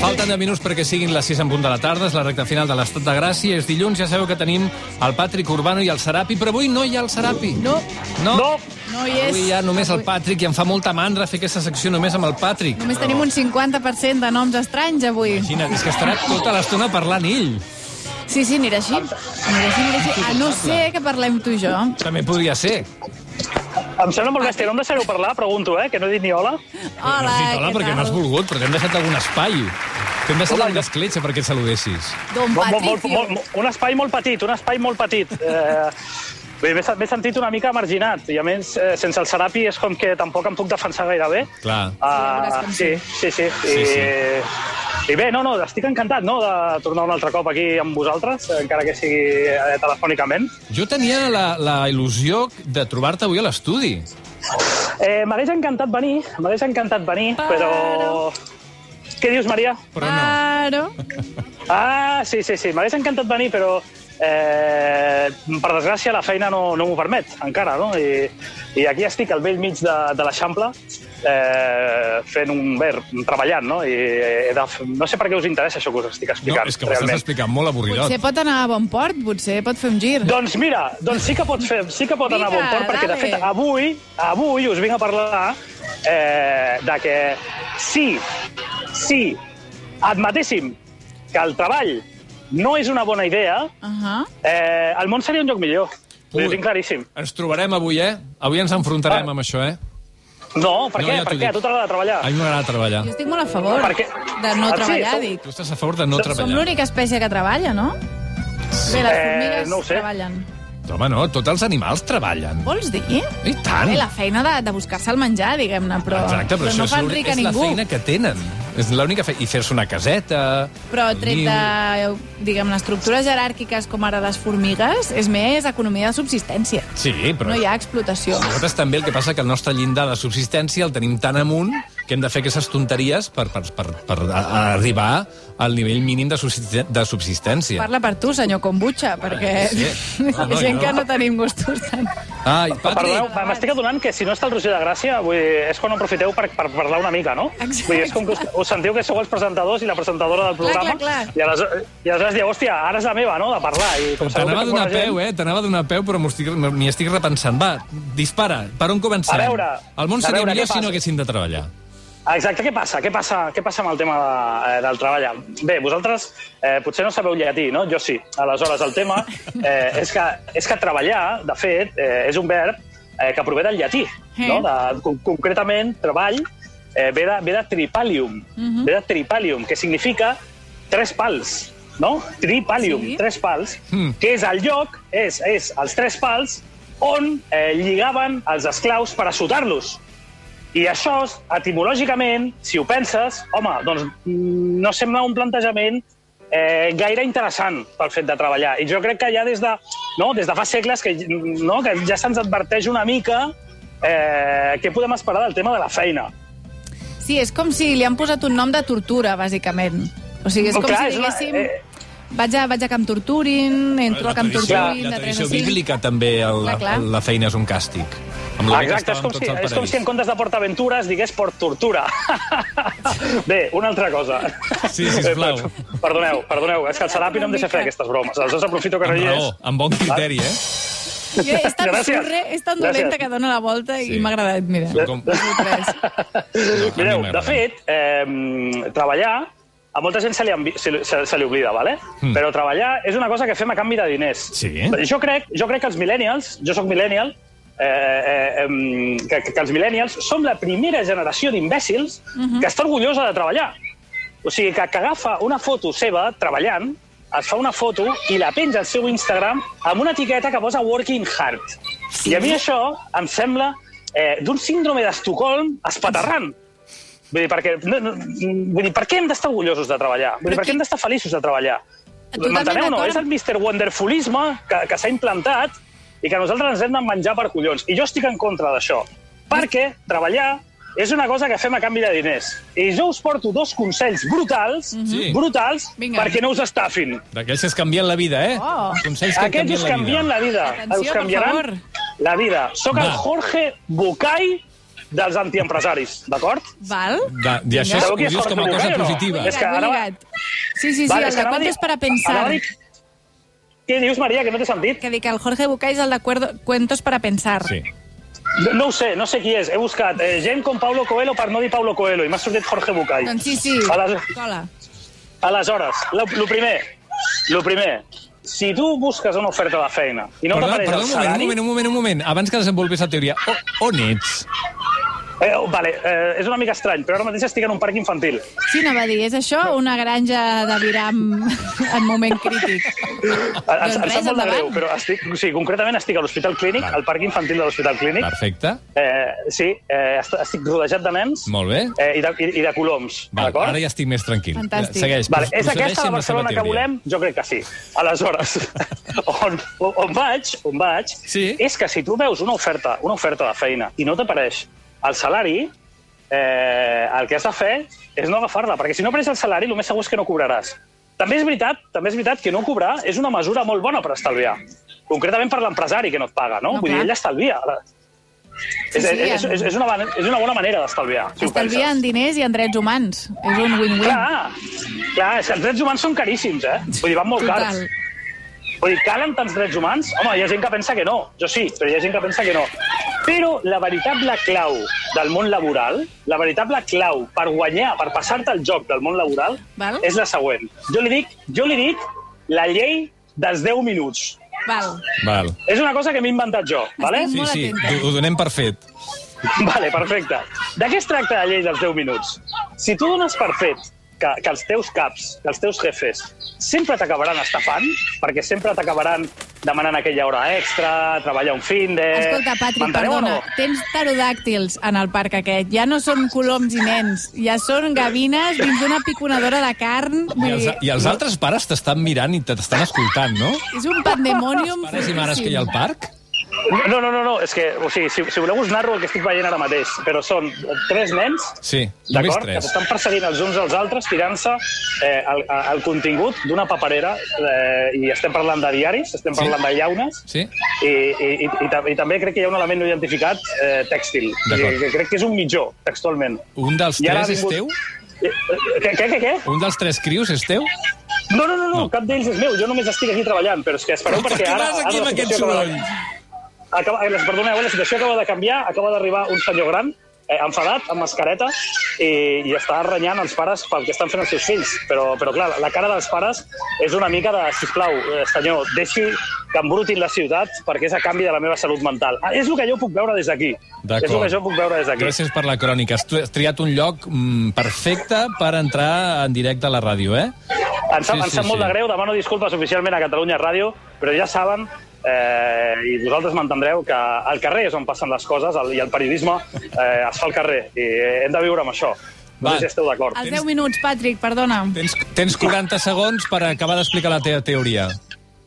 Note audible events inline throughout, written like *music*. falten 10 minuts perquè siguin les 6 en punt de la tarda, és la recta final de l'estat de Gràcia, és dilluns, ja sabeu que tenim el Patrick Urbano i el Serapi, però avui no hi ha el Serapi. No, No? No. no hi és. Avui hi ha només el Patrick i em fa molta mandra fer aquesta secció només amb el Patrick. Només tenim un 50% de noms estranys avui. Imagina't, és que estarà tota l'estona parlant ell. Sí, sí, anirà així. Anirà així, anirà així. A no ser que parlem tu i jo. També podria ser. Em sembla molt bèstia, no em deixareu parlar, pregunto, eh, que no he dit ni hola. Hola, no has dit què hola tal? perquè no has volgut, però t'hem deixat algun espai. T'hem deixat Hola, alguna jo- escletxa perquè et saludessis. Don Molt, molt, Patrick. molt, molt, molt, un espai molt petit, un espai molt petit. Eh, bé, M'he m'he sentit una mica marginat, i a més, eh, sense el Serapi és com que tampoc em puc defensar gaire bé. Clar. veuràs Ah, com sí, sí, sí. Sí, sí. I, I bé, no, no, estic encantat no, de tornar un altre cop aquí amb vosaltres, eh, encara que sigui eh, telefònicament. Jo tenia la, la il·lusió de trobar-te avui a l'estudi. Eh, M'hagués encantat venir, m'hagués encantat venir, però... Què dius, Maria? Però no. Però... Ah, sí, sí, sí, m'hagués encantat venir, però... Eh, per desgràcia, la feina no, no m'ho permet, encara, no? I, I aquí estic, al vell mig de, de l'Eixample, eh, fent un ver, treballant, no? I he de, f- no sé per què us interessa això que us estic No, explicant, és que ho estàs explicant molt Potser avorridot. pot anar a bon port, potser pot fer un gir. Doncs mira, doncs sí que pot, fer, sí que pot anar a Vinga, bon port, perquè de dale. fet avui, avui us vinc a parlar eh, de que si, si admetéssim que el treball no és una bona idea, Ahà. eh, el món seria un lloc millor. Ho tinc claríssim. Ah. Ens trobarem avui, eh? Avui ens enfrontarem amb això, eh? No, per No, què? ja t'ho per què? dic. A tu t'agrada treballar? A mi m'agrada treballar. Jo estic molt a favor Per què? de no Ah, sí? treballar, Som- dic. Tu estàs a favor de no Som treballar? l'única espècie que treballa, no? Bé, les Eh, formigues no ho sé. treballen. Home, no, tots els animals treballen. Vols dir? I tant. Bé, la feina de, de buscar-se el menjar, diguem-ne, però, Exacte, però, no això fan és, l'únic- ric a és la ningú. feina que tenen. És l'única feina. I fer-se una caseta... Però un tret niu. de, diguem-ne, estructures jeràrquiques com ara les formigues, és més economia de subsistència. Sí, però... No hi ha explotació. Nosaltres també el que passa que el nostre llindar de subsistència el tenim tan amunt que hem de fer aquestes tonteries per, per, per, per a, a arribar al nivell mínim de, subsisten de subsistència. Parla per tu, senyor Kombucha, perquè Eh, sí. No, *laughs* hi no, ha gent jo- que no tenim gustos tan... Ai, Perdoneu, Patrick, Patrick. m'estic adonant que si no està el Roger de Gràcia, vull dir, és quan aprofiteu per, per parlar una mica, no? Exacte. Vull dir, és com que us, us sentiu que sou els presentadors i la presentadora del Clar, programa. clar, clar. I, aleshores, I aleshores dieu, hòstia, ara és la meva, no?, de parlar. I com sabeu t'anava a que donar quan la gent- peu, eh? T'anava a donar peu, però m'ho estic- m'hi estic repensant. Va, dispara. Per on comencem? A veure, el món a seria veure, millor què si passa? no haguéssim de treballar. Exacte, què passa? Què passa, què passa amb el tema de, eh, del treballar? Bé, vosaltres eh, potser no sabeu llatí, no? Jo sí. Aleshores, el tema eh, és, que, és que treballar, de fet, eh, és un verb eh, que prové del llatí. Sí. No? De, con- concretament, treball eh, ve, de, ve de tripalium, ve de tripalium, que significa tres pals, no? Tripalium, Sí. tres pals, Mm. que és el lloc, és, és els tres pals on eh, lligaven els esclaus per assotar-los. I això, etimològicament, si ho penses, home, doncs mm, no sembla un plantejament eh, gaire interessant pel fet de treballar. I jo crec que ja des de, no, des de fa segles que, no, que ja se'ns adverteix una mica eh, què podem esperar del tema de la feina. Sí, és com si li han posat un nom de tortura, bàsicament. O sigui, és Però com Oh, clar, si és una- diguéssim... eh, Vaig a, vaig a que em torturin, entro a que em torturin... la de tres a tradició cinc. bíblica també, el, Clar, clar. la feina és un càstig. Amb la que Ah, Exacte, és estàvem com, tots si, al és com paradís. si en comptes de PortAventura es digués Port *laughs* Tortura. Bé, una altra cosa. Sí, sisplau. Eh, Perdoneu, perdoneu, és que el Serapi no em deixa fer aquestes bromes. Aleshores aprofito que no Amb hi raó, és. amb bon criteri, eh? Jo, és tan Gràcies. surre, és tan Gràcies. dolenta que dona la volta Sí. i m'ha agradat, mira. Són com... L'he pres. No, a mi Mireu, de m'agrada. fet, eh, treballar a molta gent se li, envi- se, li- se, se li oblida, ¿vale? Mm. però treballar és una cosa que fem a canvi de diners. Sí. Jo, crec, jo crec que els millennials, jo sóc millennial, eh, eh, em, que, que els millennials som la primera generació d'imbècils que està orgullosa de treballar. O sigui, que, que agafa una foto seva treballant, es fa una foto i la penja al seu Instagram amb una etiqueta que posa working hard. I a mi això em sembla eh, d'un síndrome d'Estocolm espaterrant. Vull dir, perquè, no, no, vull dir, per què hem d'estar orgullosos de treballar? Vull dir, per què hem d'estar feliços de treballar? Totalment M'enteneu o no? d'acord. És el Mr. Wonderfulisme que, que s'ha implantat i que nosaltres ens hem de menjar per collons. I jo estic en contra d'això, perquè treballar és una cosa que fem a canvi de diners. I jo us porto dos consells brutals, Sí. brutals, Mhm. Vinga. perquè no us estafin. D'aquells que es canvien la vida, eh? Oh. Consells que et Aquests us canvien la vida. Atenció, us per canviaran favor. la vida. Soc el Va. Jorge Bucay dels antiempresaris, d'acord? Val? De, I això Sabeu ho qui és dius com a Jorge cosa Bugué, o no? positiva. És que Lligat, ara- lligat. Sí, sí, sí, Vale, el és que de anava a dir- cuentos para anava pensar. a dir- Què dius, Maria, que no t'he sentit? Que dic, el Jorge Bucay és el de cuerdo- cuentos para pensar. Sí. No, no ho sé, no sé qui és. He buscat eh, gent com Paulo Coelho per no dir Paulo Coelho i m'ha sortit Jorge Bucay. Doncs sí, sí, Aleshores, cola. aleshores lo, lo primer, lo primer, si tu busques una oferta de feina i no Perdó, t'apareix perdó, el un moment, un salari... moment, un moment, un moment. Abans que desenvolupis la teoria, o, on ets? Eh, oh, vale, eh, és una mica estrany, però ara mateix estic en un parc infantil. Sí, no va dir, és això o una granja de viram *laughs* en moment crític? Doncs em res, sap molt de endavant. greu, però estic, sí, concretament estic a l'Hospital Clínic, Val. al parc infantil de l'Hospital Clínic. Perfecte. Eh, sí, eh, est- estic rodejat de nens Molt bé. eh, i, de, i, i de coloms, Val, d'acord? ara ja estic més tranquil. Fantàstic. Segueix. Vale, és procedeix aquesta la amb seva Barcelona que teoria. volem? Jo crec que sí. *laughs* Aleshores, on, on vaig, on vaig Sí. és que si tu veus una oferta, una oferta de feina i no t'apareix el salari, eh, el que has de fer és no agafar-la, perquè si no apareix el salari, el més segur és que no cobraràs. També és veritat també és veritat que no cobrar és una mesura molt bona per estalviar. Concretament per l'empresari que no et paga, no? No, Vull dir, clar. ell estalvia. Sí, és, sí, és, és, és, una, bona- és una bona manera d'estalviar. Si ho Estalvia penses. en diners i en drets humans. És un win-win. Clar, clar, és que els drets humans són caríssims, eh? Vull dir, van molt Total. cars. Vull dir, calen tants drets humans? Home, hi ha gent que pensa que no. Jo sí, però hi ha gent que pensa que no. Però la veritable clau del món laboral, la veritable clau per guanyar, per passar-te el joc del món laboral, Val. és la següent. Jo li dic, jo li dic la llei dels 10 minuts. Val. Val. És una cosa que m'he inventat jo, vale? Sí, Molt sí, atenta. ho- ho donem per fet. *laughs* Vale, perfecte. De què es tracta la llei dels 10 minuts? Si tu dones per fet que, que els teus caps, que els teus jefes, sempre t'acabaran estafant, perquè sempre t'acabaran demanant aquella hora extra, treballar un fin de... Escolta, Patri, M'enteneu Eh, o perdona, tens pterodàctils en el parc aquest. Ja no són coloms i nens, ja són gavines dins d'una piconadora de carn. I Vull els, dir, i els altres pares t'estan mirant i t'estan escoltant, no? és un pandemonium Pares i mares que hi ha al parc? No, no, no, no, és que, o sigui, si, si voleu us narro el que estic veient ara mateix, però són tres nens Sí, només D'acord? Que tres. s'estan perseguint els uns als altres, tirant-se eh, el, el contingut d'una paperera, eh, i estem parlant de diaris, estem Sí. parlant de llaunes, Sí. i, i, i, i, ta- i també crec que hi ha un element no identificat eh, tèxtil. D'acord. I, que crec que és un mitjó, textualment. Un dels I ara ha tres és vingut- teu? Eh, eh, Què, què, què? què? Un dels tres crios és teu? No, no, no, no, cap d'ells és meu, jo només estic aquí treballant, però és que espereu Per perquè què ara... vas ara aquí la amb aquest situació acaba de- soroll? Acaba, eh, perdoneu, la situació acaba de canviar, acaba d'arribar un senyor gran, eh, enfadat, amb mascareta, i, i està renyant els pares pel que estan fent els seus fills. Però, però clar, la cara dels pares és una mica de, sisplau, eh, senyor, deixi que embrutin la ciutat perquè és a canvi de la meva salut mental. Ah, És el que jo puc veure des d'aquí. És el D'acord. que jo puc veure des d'aquí. Gràcies per la crònica. Has tu- has triat un lloc mm, perfecte per entrar en directe a la ràdio, eh? Em sap, Sí, sí, sí, em sap molt sí. de greu, demano disculpes oficialment a Catalunya Ràdio, però ja saben, eh, i vosaltres m'entendreu, que al carrer és on passen les coses el, i el periodisme eh, es fa al carrer, i hem de viure amb això. No Va. sé si esteu d'acord. Els 10 minuts, Patrick, perdona. Tens, tens 40 segons per acabar d'explicar la teva teoria.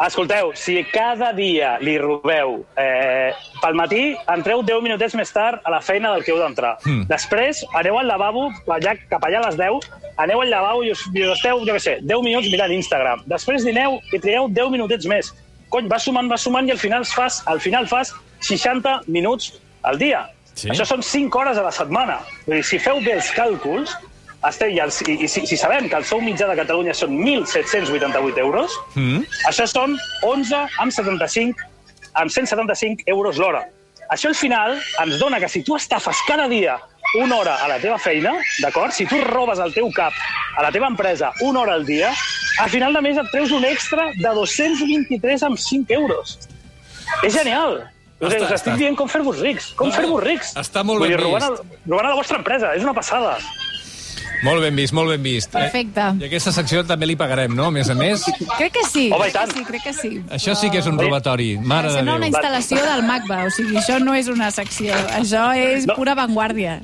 Escolteu, si cada dia li robeu eh, pel matí, entreu 10 minutets més tard a la feina del que heu d'entrar. Mm. Mm. Després aneu al lavabo, allà, cap allà a les 10, aneu al lavabo i us, i us esteu, jo què sé, 10 minuts mirant Instagram. Després dineu i trieu 10 minutets més. Cony, vas sumant, vas sumant i al final fas, al final fas 60 minuts al dia. Sí. Sí. Això són 5 hores a la setmana. Vull dir, si feu bé els càlculs, esteu, i, els, i, i si, si sabem que el sou mitjà de Catalunya són 1.788 euros, Mm? això són 11 amb 75 amb 175 euros l'hora. Això al final ens dona que si tu estafes cada dia una hora a la teva feina, d'acord? Si tu robes al teu cap, a la teva empresa, una hora al dia, al final de mes et treus un extra de 223 amb 5 euros. És genial. Us, Està- us està. estic dient com fer-vos rics. Com No, fer-vos rics. està molt Vull ben dir, robant, vist. el, robant a la vostra empresa. És una passada. Molt ben vist, molt ben vist. Perfecte. I aquesta secció també li pagarem, no? A més a més, Crec que sí, Home, i crec que tant. sí, crec que sí. això sí que és un robatori, mare de Sembla una Déu. instal·lació del MACBA, o sigui, això no és una secció, això és No. pura vanguardia.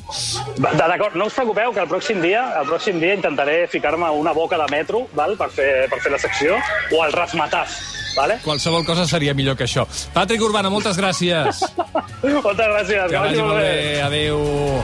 Va, de- D'acord, no us preocupeu que el pròxim dia el pròxim dia intentaré ficar-me una boca de metro val, per, fer, per fer la secció o el rasmatàs, vale? *laughs* Qualsevol cosa seria millor que això. Patrick Urbana, moltes gràcies. Moltes gràcies. Que vagi molt bé. Adéu.